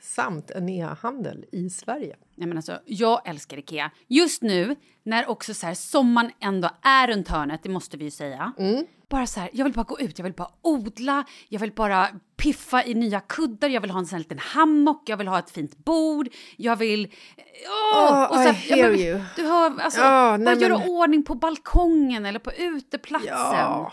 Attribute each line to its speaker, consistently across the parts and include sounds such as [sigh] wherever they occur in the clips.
Speaker 1: samt en e-handel i Sverige.
Speaker 2: Nej, men alltså, jag älskar Ikea. Just nu, när också så här, sommaren ändå är runt hörnet, det måste vi ju säga. Bara så här, jag vill bara gå ut, jag vill bara odla, jag vill bara piffa i nya kuddar, jag vill ha en sån här liten hammock, jag vill ha ett fint bord, jag vill... Åh!
Speaker 1: Oh,
Speaker 2: så
Speaker 1: I
Speaker 2: jag
Speaker 1: hear
Speaker 2: bara-
Speaker 1: you.
Speaker 2: Du hör, alltså,
Speaker 1: Ja,
Speaker 2: bara
Speaker 1: nej,
Speaker 2: göra
Speaker 1: men-
Speaker 2: ordning på balkongen eller på uteplatsen.
Speaker 1: Ja,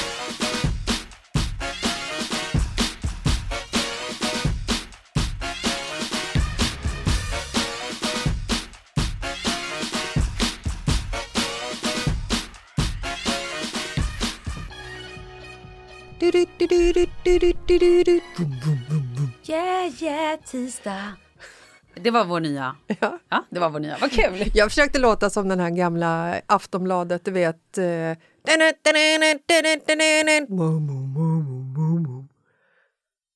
Speaker 2: Yeah, yeah, tisdag. Det var vår nya. Ja. det var vår nya. Vad [laughs] kul.
Speaker 1: Jag försökte låta som den här gamla Aftonbladet, du vet... eh,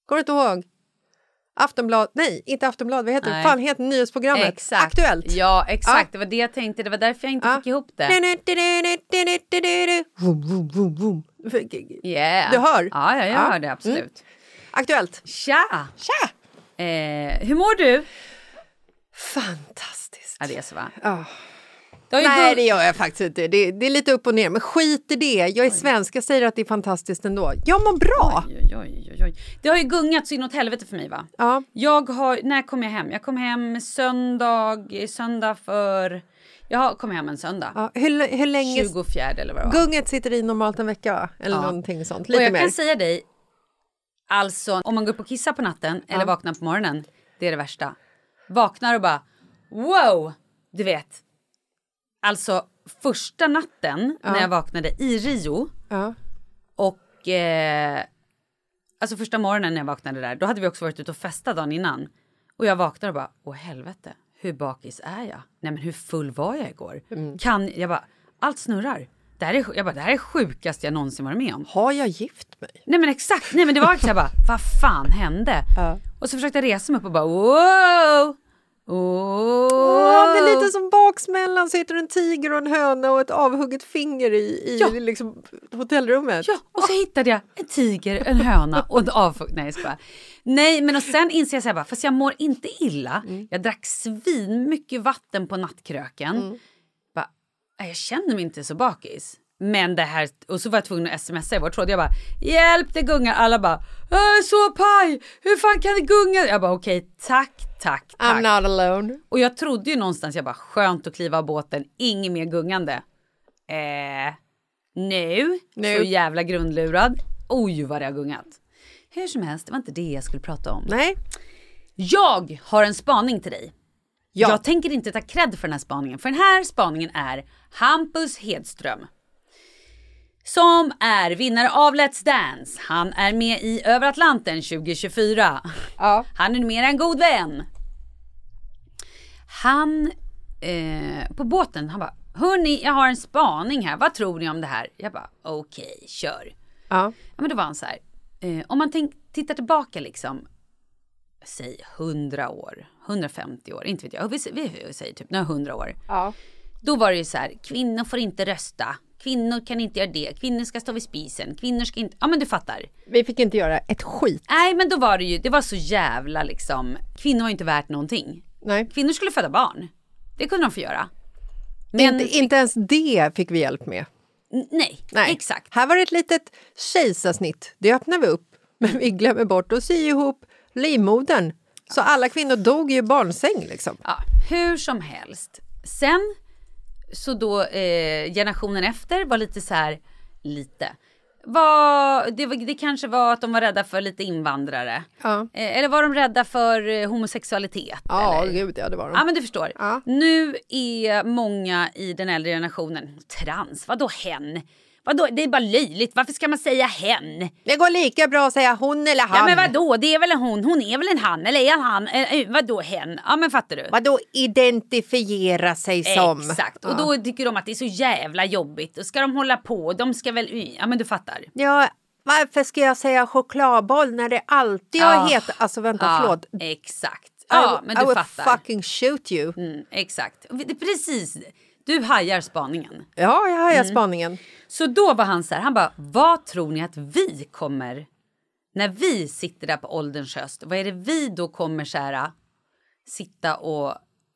Speaker 1: Kommer du inte ihåg? Aftonblad, nej, inte Aftonblad, vad heter det?
Speaker 2: Nej.
Speaker 1: Fan, heter nyhetsprogrammet?
Speaker 2: Exakt.
Speaker 1: Aktuellt.
Speaker 2: Ja, exakt.
Speaker 1: Ja.
Speaker 2: Det var det jag tänkte. Det var därför jag inte
Speaker 1: Ja.
Speaker 2: fick ihop det.
Speaker 1: Vroom, vroom, vroom, vroom.
Speaker 2: Yeah.
Speaker 1: Du hör?
Speaker 2: Ja, ja jag
Speaker 1: Ja. Mm.
Speaker 2: hör det absolut.
Speaker 1: Aktuellt.
Speaker 2: Tja!
Speaker 1: Tja!
Speaker 2: Eh, hur mår du?
Speaker 1: Fantastiskt.
Speaker 2: Ja, det är så va?
Speaker 1: Ja.
Speaker 2: Det har ju
Speaker 1: Ah. Nej,
Speaker 2: bör-
Speaker 1: det gör jag faktiskt inte. Det, det är lite upp och ner, men skit i det. Jag är svensk, jag säger att det är fantastiskt ändå. Jag mår bra!
Speaker 2: Oj, oj, oj, oj. Det har ju gungat så inåt helvete för mig va?
Speaker 1: Ja.
Speaker 2: Jag har, när kom jag hem? Jag kom hem söndag, söndag för... Jag kom hem en söndag.
Speaker 1: Ja, hur, hur länge...
Speaker 2: 24 eller vad det var.
Speaker 1: Gunget sitter i normalt en vecka, va? eller
Speaker 2: Ja.
Speaker 1: någonting sånt.
Speaker 2: Och
Speaker 1: Lite
Speaker 2: jag
Speaker 1: mer.
Speaker 2: kan säga dig, alltså om man går upp och kissar på natten eller vaknar på morgonen, det är det värsta. Vaknar och bara wow, du vet. Alltså första natten när jag vaknade i Rio
Speaker 1: Ja.
Speaker 2: och eh, alltså första morgonen när jag vaknade där, då hade vi också varit ute och festat dagen innan. Och jag vaknade och bara, åh helvete, hur bakis är jag? Nej men hur full var jag igår?
Speaker 1: Mm.
Speaker 2: Kan, jag bara, allt snurrar. Det här är, jag bara, det här är sjukast jag någonsin varit med om.
Speaker 1: Har jag gift mig?
Speaker 2: Nej men exakt, nej men det var också jag bara, [laughs] vad fan hände? Och så försökte jag resa mig upp och bara, wow!
Speaker 1: Åh,
Speaker 2: Oh.
Speaker 1: det är lite som baksmällan, så hittar du en tiger och en höna och ett avhugget finger i, i
Speaker 2: Ja.
Speaker 1: liksom, hotellrummet.
Speaker 2: Ja, och så hittade jag en tiger, en höna och en avfugg. Nej, jag skojar. Nej, men och sen inser jag så här bara, fast jag mår inte illa. Jag drack svin mycket vatten på nattkröken. Bara, nej, jag känner mig inte så bakis. Men det här, och så var jag tvungen att smsa i vår tråd. Jag bara, hjälp det gungar. Alla bara, jag är så paj, hur fan kan det gunga? Jag bara, okej, tack, tack, tack.
Speaker 1: I'm not alone.
Speaker 2: Och jag trodde ju någonstans, jag bara skönt att kliva av båten, inget mer gungande. Eh, nu,
Speaker 1: Nu.
Speaker 2: så jävla grundlurad. Oj vad det har gungat. Hur som helst, det var inte det jag skulle prata om.
Speaker 1: Nej.
Speaker 2: Jag har en spaning till dig.
Speaker 1: Ja.
Speaker 2: Jag tänker inte ta cred för den här spaningen, för den här spaningen är Hampus Hedström. Som är vinnare av Let's Dance. Han är med i Över Atlanten 2024.
Speaker 1: Ja.
Speaker 2: Han är numera en god vän. Han eh, på båten, han bara Hörni, jag har en spaning här. Vad tror ni om det här? Jag bara okej, kör.
Speaker 1: ja.
Speaker 2: Ja, men då var han så här. Eh, om man tänk, tittar tillbaka liksom, säg 100 år, 150 år, inte vet jag. Vi, vi, vi säger typ några 100 år.
Speaker 1: Ja.
Speaker 2: Då var det ju så här, kvinnor får inte rösta. Kvinnor kan inte göra det. Kvinnor ska stå vid spisen. Kvinnor ska inte, ja men du fattar.
Speaker 1: Vi fick inte göra ett skit.
Speaker 2: Nej men då var det ju, det var så jävla liksom, kvinnor var ju inte värt någonting.
Speaker 1: Nej.
Speaker 2: Kvinnor skulle föda barn. Det kunde de få göra. Men
Speaker 1: Men... Inte, inte ens det fick vi hjälp med.
Speaker 2: n- nej,
Speaker 1: Nej.
Speaker 2: exakt.
Speaker 1: Här var det ett litet kejsarsnitt. Det öppnar vi upp, [laughs] men vi glömmer bort att sy ihop livmodern. Så alla kvinnor dog ju i barnsäng. Liksom.
Speaker 2: Ja, hur som helst. Sen så då eh, generationen efter var lite så här, lite. Var, det, var- det kanske var att de var rädda för lite invandrare.
Speaker 1: Ja.
Speaker 2: Eh, eller var de rädda för eh, homosexualitet?
Speaker 1: Ja,
Speaker 2: eller?
Speaker 1: gud ja, det var de.
Speaker 2: Ja men du förstår.
Speaker 1: Ja.
Speaker 2: Nu är många i den äldre generationen trans. Vadå hen? Vadå? Det är bara löjligt. Varför ska man säga hen?
Speaker 1: Det går lika bra att säga hon eller han.
Speaker 2: Ja men vadå? Det är väl en hon? Hon är väl en han? Eller är han han? Eh, eh, vadå hen? Ja men fattar du?
Speaker 1: Vadå identifiera sig som?
Speaker 2: Exakt. Och då tycker de att det är så jävla jobbigt. Och ska de hålla på? De ska väl... Ja men du fattar.
Speaker 1: Ja, varför ska jag säga chokladboll när det alltid
Speaker 2: Ja.
Speaker 1: har hetat... Alltså vänta,
Speaker 2: Ja,
Speaker 1: förlåt.
Speaker 2: Exakt. Ah. Ja
Speaker 1: I,
Speaker 2: men
Speaker 1: I
Speaker 2: du
Speaker 1: will
Speaker 2: fattar.
Speaker 1: fucking shoot you.
Speaker 2: Mm, exakt. Och det- Precis. Du hajar spaningen.
Speaker 1: Ja, jag har
Speaker 2: Mm.
Speaker 1: jag spaningen.
Speaker 2: Så då var han så här, han bara, vad tror ni att vi kommer, när vi sitter där på ålderns höst, vad är det vi då kommer så här, sitta och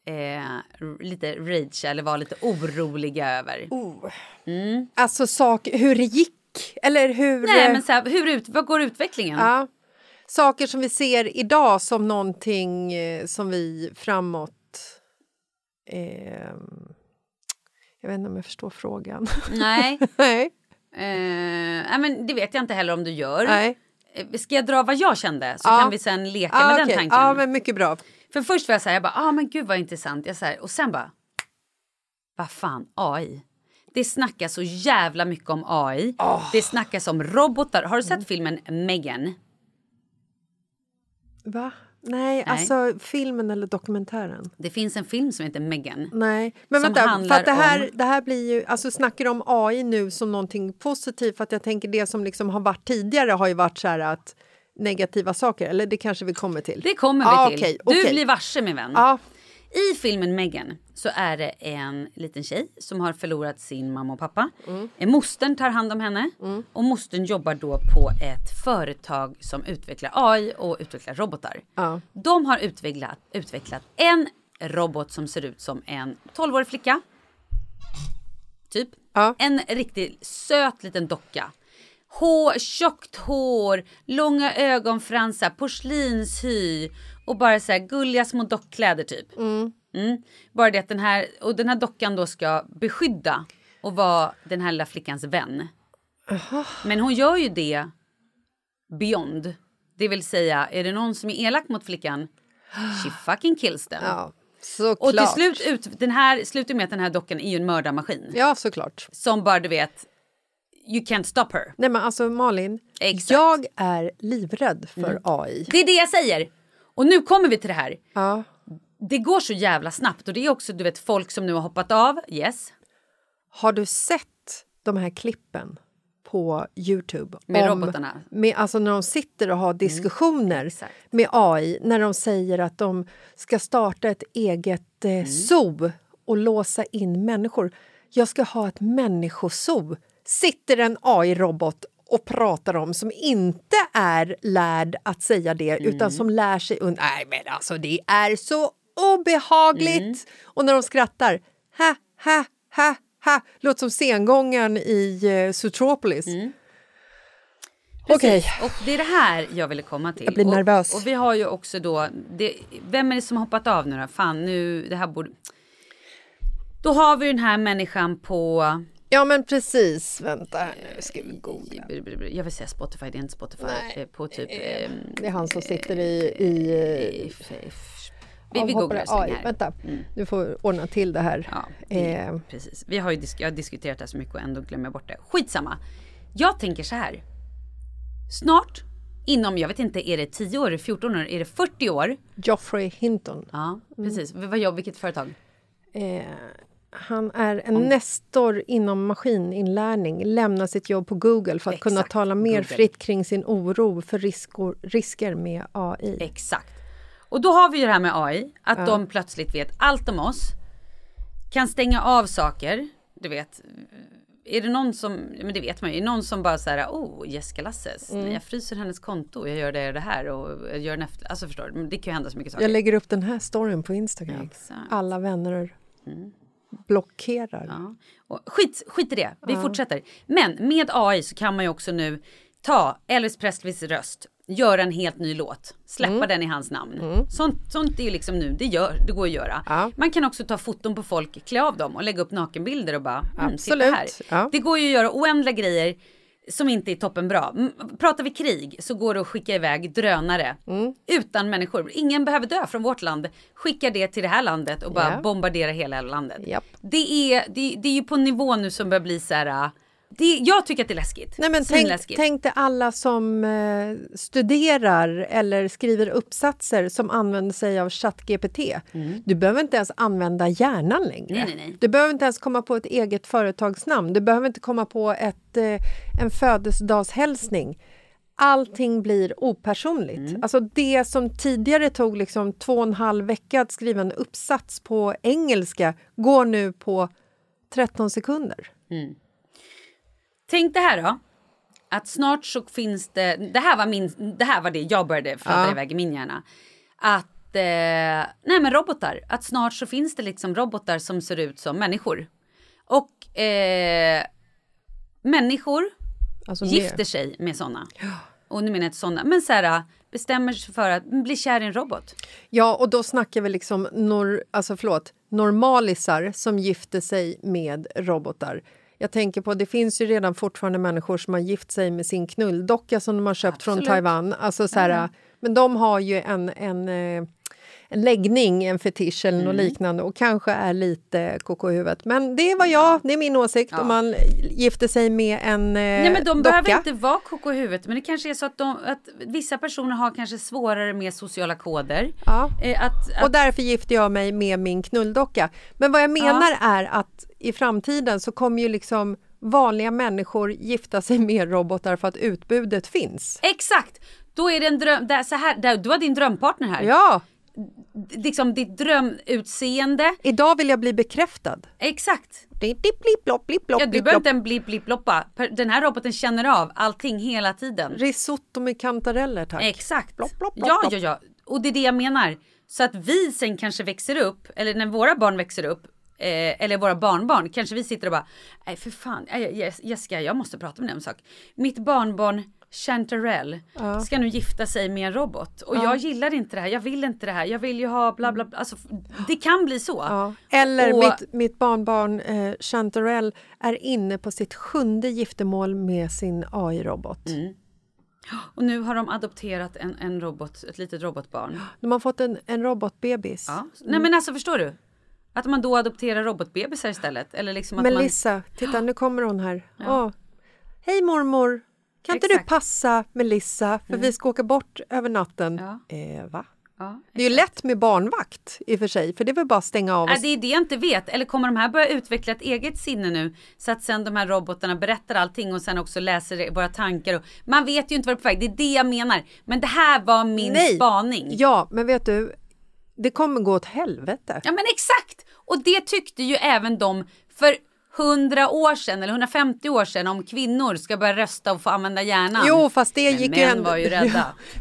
Speaker 2: eh, r- lite rage eller vara lite oroliga över?
Speaker 1: Alltså sak, hur det gick, eller hur...
Speaker 2: Nej
Speaker 1: eh,
Speaker 2: men så här, hur ut, vad går utvecklingen?
Speaker 1: ja. Saker som vi ser idag som någonting eh, som vi framåt... ehm, jag vet inte om jag förstår frågan. [laughs]
Speaker 2: Nej,
Speaker 1: Nej.
Speaker 2: eh, nej, men det vet jag inte heller om du gör.
Speaker 1: Nej.
Speaker 2: Eh, Ska jag dra vad jag kände så
Speaker 1: Ja.
Speaker 2: kan vi sen leka
Speaker 1: Ja,
Speaker 2: med den
Speaker 1: Ah, okej.
Speaker 2: tanken?
Speaker 1: Ja, men mycket bra.
Speaker 2: För först var jag så här, jag bara, ah, men gud vad intressant. Jag så här, och sen bara, vad fan, AI. Det snackas så jävla mycket om AI.
Speaker 1: Ah.
Speaker 2: Det snackas om robotar. Har du sett filmen Megan?
Speaker 1: Va? Nej, alltså filmen eller dokumentären.
Speaker 2: Det finns en film som heter Megan.
Speaker 1: Nej, men
Speaker 2: Som
Speaker 1: vänta, för
Speaker 2: handlar
Speaker 1: att det här,
Speaker 2: om-
Speaker 1: det här blir ju, alltså snackar du om AI nu som någonting positivt? För att jag tänker det som liksom har varit tidigare har ju varit så här att negativa saker, eller det kanske vi kommer till.
Speaker 2: Det kommer vi
Speaker 1: Ja,
Speaker 2: till.
Speaker 1: Ah, okej,
Speaker 2: du
Speaker 1: okej. Ah,
Speaker 2: blir varse min vän.
Speaker 1: Ja,
Speaker 2: I filmen Megan så är det en liten tjej som har förlorat sin mamma och pappa. Mm. Mostern tar hand om henne
Speaker 1: Mm.
Speaker 2: och mostern jobbar då på ett företag som utvecklar AI och utvecklar robotar.
Speaker 1: Ja.
Speaker 2: De har utvecklat, utvecklat en robot som ser ut som en 12-årig flicka. Typ.
Speaker 1: Ja.
Speaker 2: En riktigt söt liten docka. Hår, tjockt hår, långa ögonfransar, porslinshy och bara så här gulliga små dockkläder typ. Mm. Bara det att den här, och den här dockan då ska beskydda och vara den här lilla flickans vän. Men hon gör ju det beyond. Det vill säga, är det någon som är elak mot flickan, she fucking kills them.
Speaker 1: ja såklart.
Speaker 2: och till slut ut, den här, slutar med att den här dockan är ju en mördarmaskin.
Speaker 1: Ja, såklart.
Speaker 2: Som bara, du vet, you can't stop her.
Speaker 1: Nej men alltså Malin,
Speaker 2: Exakt. Mm.
Speaker 1: jag är livrädd för AI.
Speaker 2: Det är det jag säger. Och nu kommer vi till det här.
Speaker 1: Ja.
Speaker 2: det går så jävla snabbt och det är också du vet folk som nu har hoppat av. Yes.
Speaker 1: Har du sett de här klippen på Youtube?
Speaker 2: Med robotarna?
Speaker 1: Med, alltså när de sitter och har diskussioner med AI när de säger att de ska starta ett eget eh, zoo och låsa in människor. Jag ska ha ett människosoo. Sitter en AI-robot och pratar om som inte är lärd att säga det utan som lär sig... Und- Nej, men alltså det är så obehagligt! Och när de skrattar, ha, ha, ha, ha. Låter som sengången i eh, Zootropolis. Okej.
Speaker 2: Precis. Och det är det här jag ville komma till.
Speaker 1: Jag blir
Speaker 2: och,
Speaker 1: nervös.
Speaker 2: Och vi har ju också då, det, vem är det som har hoppat av nu då? Fan nu, det här borde... Då har vi den här människan på,
Speaker 1: Ja, men precis. Vänta här nu, ska vi googla.
Speaker 2: jag vill säga Spotify, det är inte Spotify, eh, på typ... ehm,
Speaker 1: Det är han som sitter i... i eh,
Speaker 2: if- if- vi, vi
Speaker 1: avhoppare
Speaker 2: googlar så länge
Speaker 1: AI.
Speaker 2: här. Mm.
Speaker 1: Vänta, du får ordna till det här.
Speaker 2: Ja,
Speaker 1: Eh,
Speaker 2: precis. Vi har ju disk- jag har diskuterat det här så mycket och ändå glömmer jag bort det. Skitsamma. Jag tänker så här. Snart, inom, jag vet inte, är det 10 år, är det 14 år, är det 40 år? Mm.
Speaker 1: Geoffrey Hinton.
Speaker 2: Ja, precis. Vad jobb, vilket företag?
Speaker 1: Eh, han är en nestor inom maskininlärning, lämnar sitt jobb på Google för att kunna
Speaker 2: Exakt,
Speaker 1: tala mer
Speaker 2: Google.
Speaker 1: fritt kring sin oro för riskor, risker med AI.
Speaker 2: Exakt. Och då har vi ju det här med AI, att de plötsligt vet allt om oss. Kan stänga av saker, du vet. Är det någon som, men det vet man ju, är det någon som bara så här, oh Jessica Lasses, nej, jag fryser hennes konto, jag gör det, jag gör det här och jag gör en efter, alltså förstår du, men det kan ju hända så mycket saker.
Speaker 1: Jag lägger upp den här storyn på Instagram.
Speaker 2: Exakt. Mm.
Speaker 1: Alla vänner blockerar.
Speaker 2: Ja. Och skit, skit i det, vi fortsätter. Men med AI så kan man ju också nu ta Elvis Presleys röst, göra en helt ny låt, släppa
Speaker 1: Mm.
Speaker 2: den i hans namn. Sånt, sånt är ju liksom nu, det, gör, det går att göra.
Speaker 1: Ja.
Speaker 2: Man kan också ta foton på folk, klä av dem och lägga upp nakenbilder och bara, mm, titta
Speaker 1: Absolut,
Speaker 2: här.
Speaker 1: ja.
Speaker 2: Det går ju att göra oändliga grejer som inte är toppen bra. Pratar vi krig så går det att skicka iväg drönare utan människor. Ingen behöver dö från vårt land. Skicka det till det här landet och bara
Speaker 1: Ja.
Speaker 2: bombardera hela landet.
Speaker 1: Japp.
Speaker 2: Det, är, det, det är ju på en nivå nu som börjar bli så här. äh, Det, jag tycker att det är läskigt.
Speaker 1: Nej, men tänk,
Speaker 2: Svinläskigt.
Speaker 1: tänk dig alla som eh, studerar eller skriver uppsatser som använder sig av ChatGPT. Du behöver inte ens använda hjärnan längre.
Speaker 2: Mm. Nej, nej, nej.
Speaker 1: Du behöver inte ens komma på ett eget företagsnamn. Du behöver inte komma på ett, eh, en födelsedagshälsning. Allting blir opersonligt.
Speaker 2: Mm.
Speaker 1: Alltså det som tidigare tog liksom två och en halv vecka att skriva en uppsats på engelska går nu på 13 sekunder.
Speaker 2: Tänk det här då. Att snart så finns det, det här var, min, det, här var det jag började fladdra iväg i min hjärna. Att, eh, nej men robotar. Att snart så finns det liksom robotar som ser ut som människor. Och eh, människor
Speaker 1: Alltså mer.
Speaker 2: gifter sig med sådana. Och nu menar jag inte sådana, men så här, bestämmer sig för att bli kär i en robot.
Speaker 1: Ja, och då snackar vi liksom nor, alltså förlåt, normalisar som gifter sig med robotar. Jag tänker på, det finns ju redan fortfarande människor som har gift sig med sin knulldocka som de har köpt från Taiwan. Alltså så här, Men de har ju en, en, eh, en läggning, en fetisch eller
Speaker 2: Mm.
Speaker 1: något liknande och kanske är lite kk i huvudet. Men det är vad jag, det är min åsikt om man gifter sig med en eh,
Speaker 2: Nej men de
Speaker 1: docka.
Speaker 2: behöver inte vara koko i huvudet men det kanske är så att, de, att vissa personer har kanske svårare med sociala koder.
Speaker 1: Ja.
Speaker 2: Eh, att, att,
Speaker 1: Och därför gifte jag mig med min knulldocka. Men vad jag menar är att i framtiden så kommer ju liksom vanliga människor gifta sig [laughs] med robotar för att utbudet finns.
Speaker 2: exakt! Då är det en dröm, där, så här, där, du har din drömpartner här.
Speaker 1: Ja,
Speaker 2: D- Liksom ditt drömutseende.
Speaker 1: idag vill jag bli bekräftad.
Speaker 2: Exakt!
Speaker 1: Blipp, blipp, blopp, blipp, blopp,
Speaker 2: Ja, du
Speaker 1: blipp,
Speaker 2: behöver
Speaker 1: blopp.
Speaker 2: inte en blipp blipp loppa. Per- Den här roboten känner av allting hela tiden.
Speaker 1: Risotto med kantareller tack.
Speaker 2: Exakt.
Speaker 1: Plopp, plopp, plopp,
Speaker 2: ja,
Speaker 1: plopp.
Speaker 2: ja, ja. Och det är det jag menar. Så att vi sen kanske växer upp, eller när våra barn växer upp, eh, eller våra barnbarn, kanske vi sitter och bara, nej för fan, eh, Jes- Jessica jag måste prata med dig om en sak. Mitt barnbarn Chanterelle ska nu gifta sig med en robot och jag gillar inte det här, jag vill inte det här, jag vill ju ha bla bla bla. Alltså, det kan bli så.
Speaker 1: Ja. Eller
Speaker 2: Och-
Speaker 1: mitt, mitt barnbarn eh, Chanterelle är inne på sitt sjunde giftermål med sin AI-robot.
Speaker 2: Mm. Och nu har de adopterat en, en robot, ett litet robotbarn.
Speaker 1: De har fått en, en robotbebis.
Speaker 2: Ja. Nej men alltså förstår du? Att man då adopterar robotbebisar istället. Eller liksom att man...
Speaker 1: Melissa, titta nu kommer hon här. Åh. Hej mormor! Kan inte du
Speaker 2: Exakt. Mm.
Speaker 1: passa Melissa för vi ska åka bort över natten?
Speaker 2: Ja.
Speaker 1: Eh, va? det är ju lätt med barnvakt i och för sig, för det är väl bara att stänga av. Och...
Speaker 2: Ja, det är det jag inte vet. Eller kommer de här börja utveckla ett eget sinne nu? Så att sen de här robotarna berättar allting och sen också läser våra tankar. Och, man vet ju inte vart det är på väg. Det är det jag menar. Men det här var min spaning.
Speaker 1: Ja, men vet du, det kommer gå åt helvete.
Speaker 2: Ja men exakt! Och det tyckte ju även de för 100 år sedan eller 150 år sedan om kvinnor ska börja rösta och få använda hjärnan.
Speaker 1: Jo, fast det
Speaker 2: men
Speaker 1: gick
Speaker 2: män
Speaker 1: ju ändå...
Speaker 2: var ju
Speaker 1: [laughs]
Speaker 2: rädda.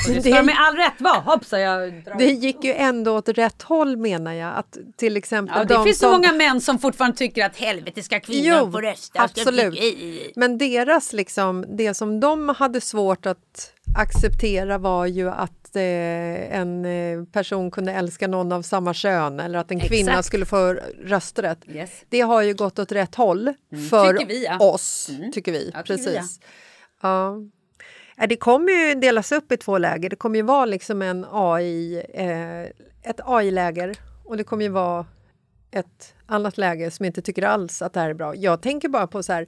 Speaker 1: men
Speaker 2: Och det
Speaker 1: det-
Speaker 2: ska de med all rätt vara. Hoppsa jag drar.
Speaker 1: Det gick ju ändå åt rätt håll menar jag. Att till exempel
Speaker 2: Ja, det
Speaker 1: de
Speaker 2: finns så
Speaker 1: som...
Speaker 2: många män som fortfarande tycker att helvete ska kvinnor få rösta. och ska
Speaker 1: absolut.
Speaker 2: bli- Alltså, i, i, i.
Speaker 1: Men deras liksom, det som de hade svårt att acceptera var ju att eh, en eh, person kunde älska någon av samma kön eller att en kvinna
Speaker 2: Exakt.
Speaker 1: skulle få rösträtt.
Speaker 2: Yes. Mm.
Speaker 1: Det har ju gått åt rätt håll för
Speaker 2: Tycker vi, ja.
Speaker 1: oss, tycker vi.
Speaker 2: Mm. Ja, tycker vi, ja.
Speaker 1: precis. Ja. Ja, Det kommer ju delas upp i två läger. Det kommer ju vara liksom en AI, eh, ett AI-läger och det kommer ju vara ett annat läge som inte tycker alls att det här är bra. Jag tänker bara på så här,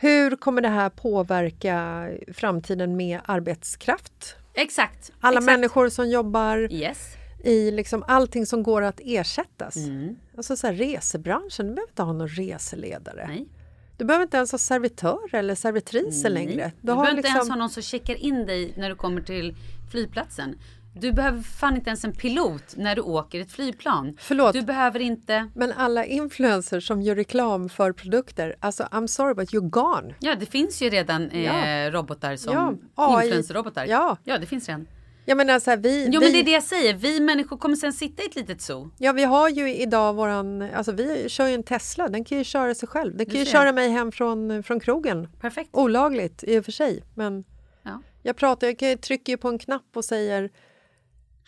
Speaker 1: hur kommer det här påverka framtiden med arbetskraft?
Speaker 2: Exakt.
Speaker 1: Alla
Speaker 2: exakt.
Speaker 1: människor som jobbar
Speaker 2: Yes.
Speaker 1: i liksom allting som går att ersättas.
Speaker 2: Mm.
Speaker 1: Alltså så här, resebranschen, du behöver inte ha någon reseledare.
Speaker 2: Nej.
Speaker 1: Du behöver inte ens ha servitör eller servitriser längre.
Speaker 2: Du, behöver
Speaker 1: har
Speaker 2: inte
Speaker 1: liksom-
Speaker 2: ens ha någon som checkar in dig när du kommer till flygplatsen. Du behöver fan inte ens en pilot när du åker ett flygplan.
Speaker 1: Förlåt.
Speaker 2: Du behöver inte...
Speaker 1: Men alla influencers som gör reklam för produkter, alltså I'm sorry but you're gone.
Speaker 2: Ja, det finns ju redan eh, robotar som
Speaker 1: Ja, AI.
Speaker 2: influencer-robotar.
Speaker 1: Ja.
Speaker 2: ja, det finns redan.
Speaker 1: Jag menar så här, vi,
Speaker 2: Jo,
Speaker 1: vi,
Speaker 2: men det är det jag säger. Vi människor kommer sen sitta i ett litet zoo.
Speaker 1: Ja, vi har ju idag våran, alltså vi kör ju en Tesla, den kan ju köra sig själv. Den kan ju
Speaker 2: ser.
Speaker 1: köra mig hem från, från krogen.
Speaker 2: Perfekt.
Speaker 1: Olagligt i och för sig, men
Speaker 2: Ja.
Speaker 1: jag pratar, jag kan- trycker ju på en knapp och säger